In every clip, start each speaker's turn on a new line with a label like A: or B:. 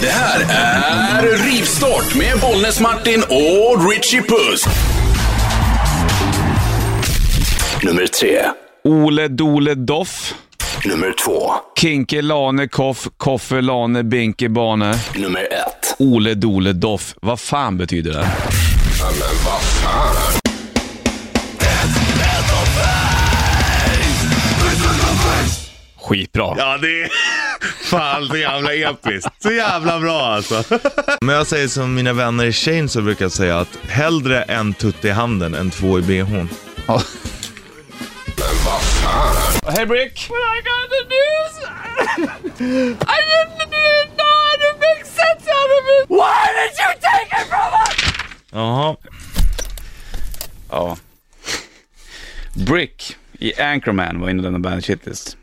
A: Det här är Rivstart med Bollnäs-Martin och Richie Puss. Nummer tre.
B: Ole Dole Doff.
A: Nummer två.
B: Kinke Lane Koff. Koffe Lane Binke Bane.
A: Nummer ett.
B: Ole Dole Doff. Vad fan betyder det? Skitbra.
C: Ja, det är fan så jävla episkt. Så jävla bra alltså. Men jag säger som mina vänner i Shane så brukar jag säga att hellre en tutt i handen än två i bhn.
B: Hej Brick!
D: I got the news. I didn't even know how to make sense out of it. Why did you take it from us?
C: Jaha.
E: Ja. Brick i Anchorman var inne på denna bandet shitlist.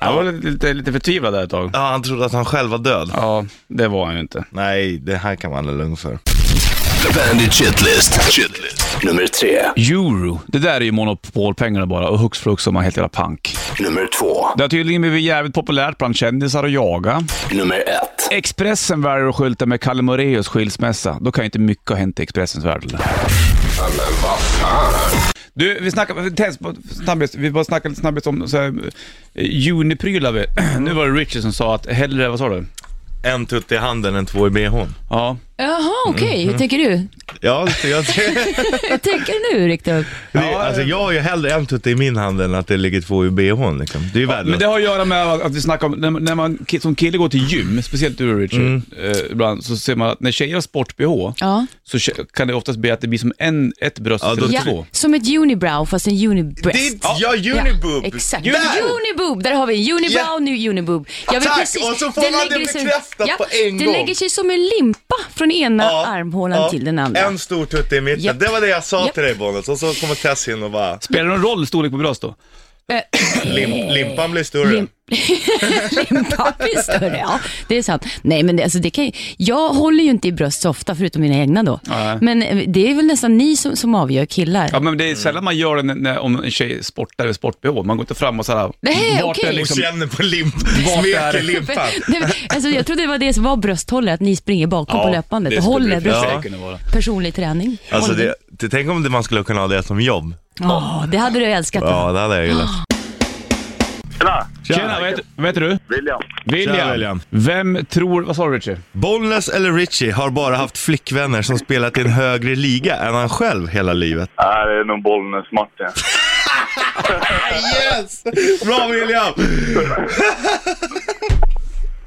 E: Han var lite, lite, lite förtvivlad där ett tag.
C: Ja, han trodde att han själv var död.
E: Ja, det var han ju inte.
C: Nej, det här kan man vara lugn för.
A: Bandit Shitlist. Shitlist. Nummer tre.
B: Euro. Det där är ju monopolpengarna bara och hux flux som man helt jävla pank.
A: Nummer två.
B: Det har tydligen blivit jävligt populärt bland kändisar att jaga.
A: Nummer ett.
B: Expressen väljer att skylta med Kalle Moraeus skilsmässa. Då kan ju inte mycket ha hänt i Expressens värld. eller? Du, vi snackar, test, på snabbis, vi bara snackade lite snabbis om så här, eh, juniprylar. vi. nu var det Richard som sa att hellre, vad sa du?
C: En tutt i handen än två i bhn.
B: Ja.
D: Jaha, okej.
C: Mhm.
D: Hur tänker du?
C: Ja, så jag
D: Hur tänker du riktigt?
C: det, är- alltså jag har ju hellre en tutt i min hand än att det ligger två i bhn liksom. Det är ju
B: Men
C: värdelöst.
B: det har att göra med att vi snackar om, när, när man ki- som kille går till gym, speciellt du Richard, eh, ibland, så ser man att när tjejer har sport-bh,
D: Ja.
B: så kö- kan det oftast bli att det blir som en, ett bröst
C: Ja, då
B: istället
D: ja.
B: för två.
D: Som ett unibrow fast en unibreast.
C: Ditt, ja, uniboob!
D: Ja, exakt.
C: Där!
D: Uniboob, där har vi unibrow,
C: Ja.
D: nu uniboob. Jag vet
C: Tack, och så får man
D: lägger
C: det
D: sig-
C: bekräftat på en
D: det
C: gång.
D: lägger sig som en limpa från ena
C: Ja,
D: armhålan
C: ja.
D: till den andra.
C: En stor tutt i mitten.
D: Japp.
C: Det var det jag sa
D: Japp.
C: till dig Bonus och så kommer Tess in och bara,
B: Spelar det någon roll storlek på bröst då?
D: Eh,
C: lim, limpan blir större.
D: Lim- limpan blir större, ja. Det är sant. Nej, men det, alltså, det kan, ju- jag håller ju inte i bröst så ofta, förutom mina egna då. Men eh, det är väl nästan ni som, som avgör killar.
B: Ja, men det är sällan man gör det när, när, om en tjej sportar eller sport-bh. Man går inte fram och såhär...
D: Nej,
B: vart
D: okej.
B: är liksom...
C: Hon känner på limp,
B: Vart
C: smeker
B: är-
C: limpan.
D: Nej, men, alltså, jag trodde det var det som var brösthållet, att ni springer bakom på löpbandet och håller bröstet.
C: Ja.
B: vara.
D: Personlig träning.
C: Alltså
D: Håller
C: det, det, tänk om det, man skulle kunna ha det som jobb.
D: Ja, det hade du älskat.
C: Ja, det hade jag gillat.
F: Tjena!
B: Tjena, vad heter, vad heter du?
F: William.
B: William.
C: Tjena, William.
B: Vem tror... Vad sa du Richard?
C: Bollnäs eller Richie har bara haft flickvänner som spelat i en högre liga än han själv hela livet.
F: Nej, det är nog Bollnäs-Martin.
C: Yes! Bra William!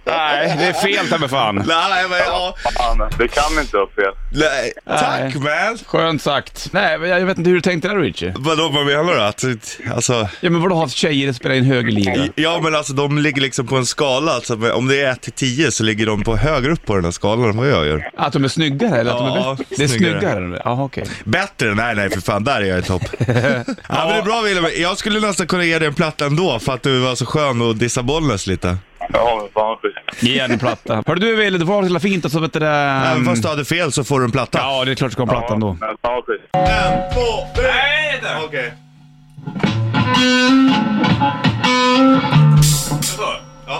B: Nej, det är fel ta mig fan.
C: Nej, men ja.
F: Fan, det kan inte vara fel.
C: Nej. Tack man!
B: Skönt sagt. Nej, men jag vet inte hur du tänkte där Richie.
C: Vadå, vad menar du? Att, alltså,
B: Ja, men vadå har tjejer spelat i en högre liga?
C: ja men alltså de ligger liksom på en skala, alltså, men om det är 1 till 10 så ligger de på högre upp på den här skalan än vad jag gör.
B: Att de är snyggare eller att de
C: Ja,
B: är bättre? Det är
C: snyggare.
B: snyggare. Jaha, okej.
C: Bättre? Nej nej för fan, där är jag i topp. ja men det är bra William, jag skulle nästan kunna ge dig en platta ändå för att du var så skön och dissa Bollnäs lite.
F: Ja, men fan vad schysst.
B: Ge henne en platta. Hörru du Wille, du får ha det så jävla fint och så vet du det...
C: Även fast du hade fel så får du en platta.
B: Mm. Ja, det är klart du ska ha en platta ändå.
F: Men fan vad schysst.
C: En, två, tre! Okej. Ja.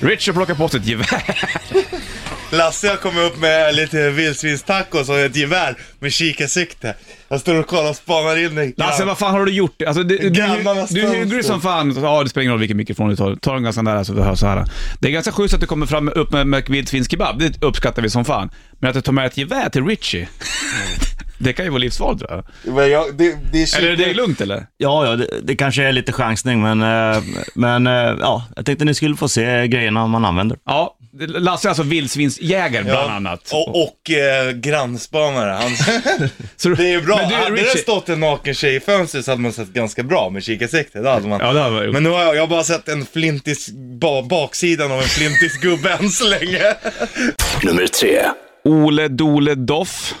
B: Richard plockar på sig ett gevär.
C: Lasse har kommit upp med lite vildsvinstacos och ett gevär med kikarsikte. Jag står och kollar och spanar in dig.
B: Lasse, vad fan har du gjort? Alltså, du du, du,
C: Grannarnas
B: du
C: fönster.
B: hugger som fan. Så, Ja, det spelar ingen roll vilken mikrofon du tar. Ta den ganska nära så vi hör så här. Det är ganska schysst att du kommer fram upp med McVildsvinskebab. Det uppskattar vi som fan. Men att du tar med ett gevär till Richie. det kan ju vara livsfarligt tror jag.
C: Men jag, det, det är
B: Eller är det lugnt eller?
G: Ja, ja det, det kanske är lite chansning, men, eh, men eh, ja, jag tänkte ni skulle få se grejerna man använder.
B: Ja. Lasse är alltså vildsvinsjägare bland
C: Ja,
B: annat.
C: Och, och eh, grannspanare. Han,
B: Så du-
C: det är bra.
B: Men du är
C: hade det
B: Richie.
C: stått en naken tjej i fönstret så hade man sett ganska bra med kikarsikte. Det hade man.
B: Ja, det hade man gjort.
C: Men nu har jag, jag har bara sett en flintis, ba, baksidan av en flintis gubbe än så länge.
A: Nummer tre.
B: Ole Dole Doff.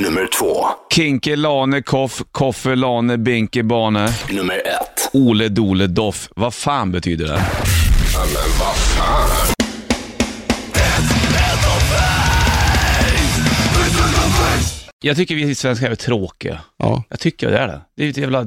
A: Nummer två.
B: Kinke Lane Koff. Koffe Lane Binke Bane.
A: Nummer ett.
B: Ole Dole Doff. Vad fan betyder det? Jag tycker vi svenskar är tråkiga.
H: Ja.
B: Jag tycker det är det. Det är ju ett jävla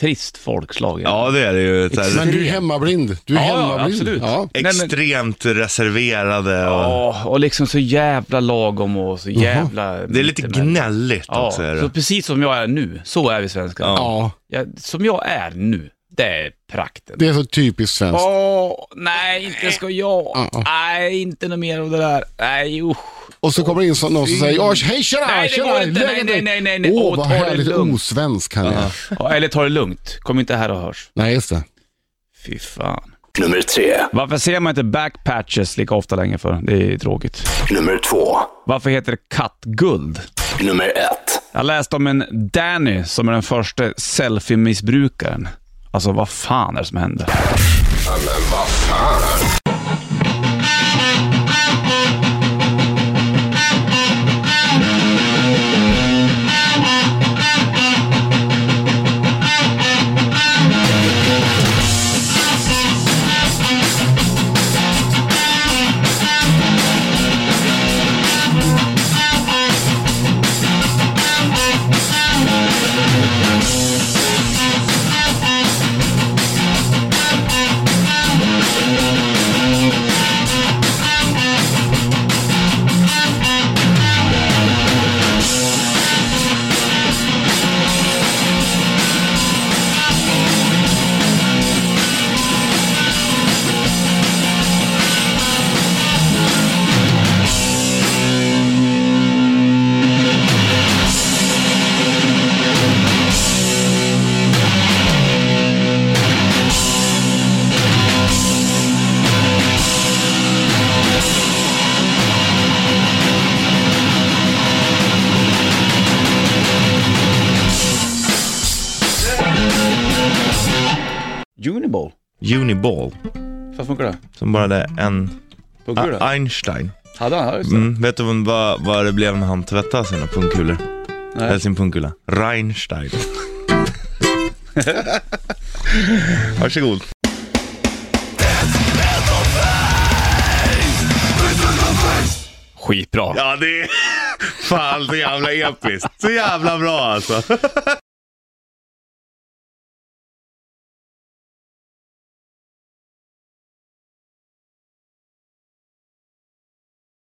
B: trist folkslag.
C: Ja, det är det ju. Så här-
H: Men du är hemmablind. Du är
B: Ja, ja,
H: hemmablind.
B: absolut.
H: Ja.
C: Extremt reserverade och...
B: Ja, och liksom så jävla lagom och så jävla...
C: Det är lite gnälligt
B: Ja,
C: också. Är
B: så
C: det.
B: precis som jag är nu, så är vi svenskar. Ja.
H: ja,
B: som jag är nu, det är prakten.
H: det är så typiskt svenskt.
B: Åh, nej, inte ska jag.
H: Ja.
B: Nej, inte något mer av det där. Nej, usch.
H: Och så kommer det in så- någon som säger "Ja, hej tjena,
B: Nej, det
H: tjena,
B: går inte. Nej,
H: läget
B: nej,
H: är-"
B: nej, nej, nej.
H: Åh,
B: Åh,
H: vad
B: ta det
H: härligt
B: lugnt.
H: osvensk han är.
B: Ja, eller ta det lugnt. Kom inte här och hörs.
H: Nej, just det.
B: Fy fan.
A: Nummer tre.
B: Varför ser man inte backpatches lika ofta längre för? Det är tråkigt.
A: Nummer två.
B: Varför heter det kattguld?
A: Nummer ett.
B: Jag läste om en Danny som är den första selfie-missbrukaren. Alltså, vad fan är det som händer? Uniball.
C: Uniball.
B: Vad funkar det?
C: Som bara det en...
B: Funkar
C: Ah, Einstein.
B: Hade han? Hade
C: Mm, vet du vad- vad, vad det blev när han tvättade sina pungkulor? Eller sin pungkula? Reinstein. Varsågod.
B: Skitbra.
C: Ja, det är fan så jävla episkt. Så jävla bra alltså.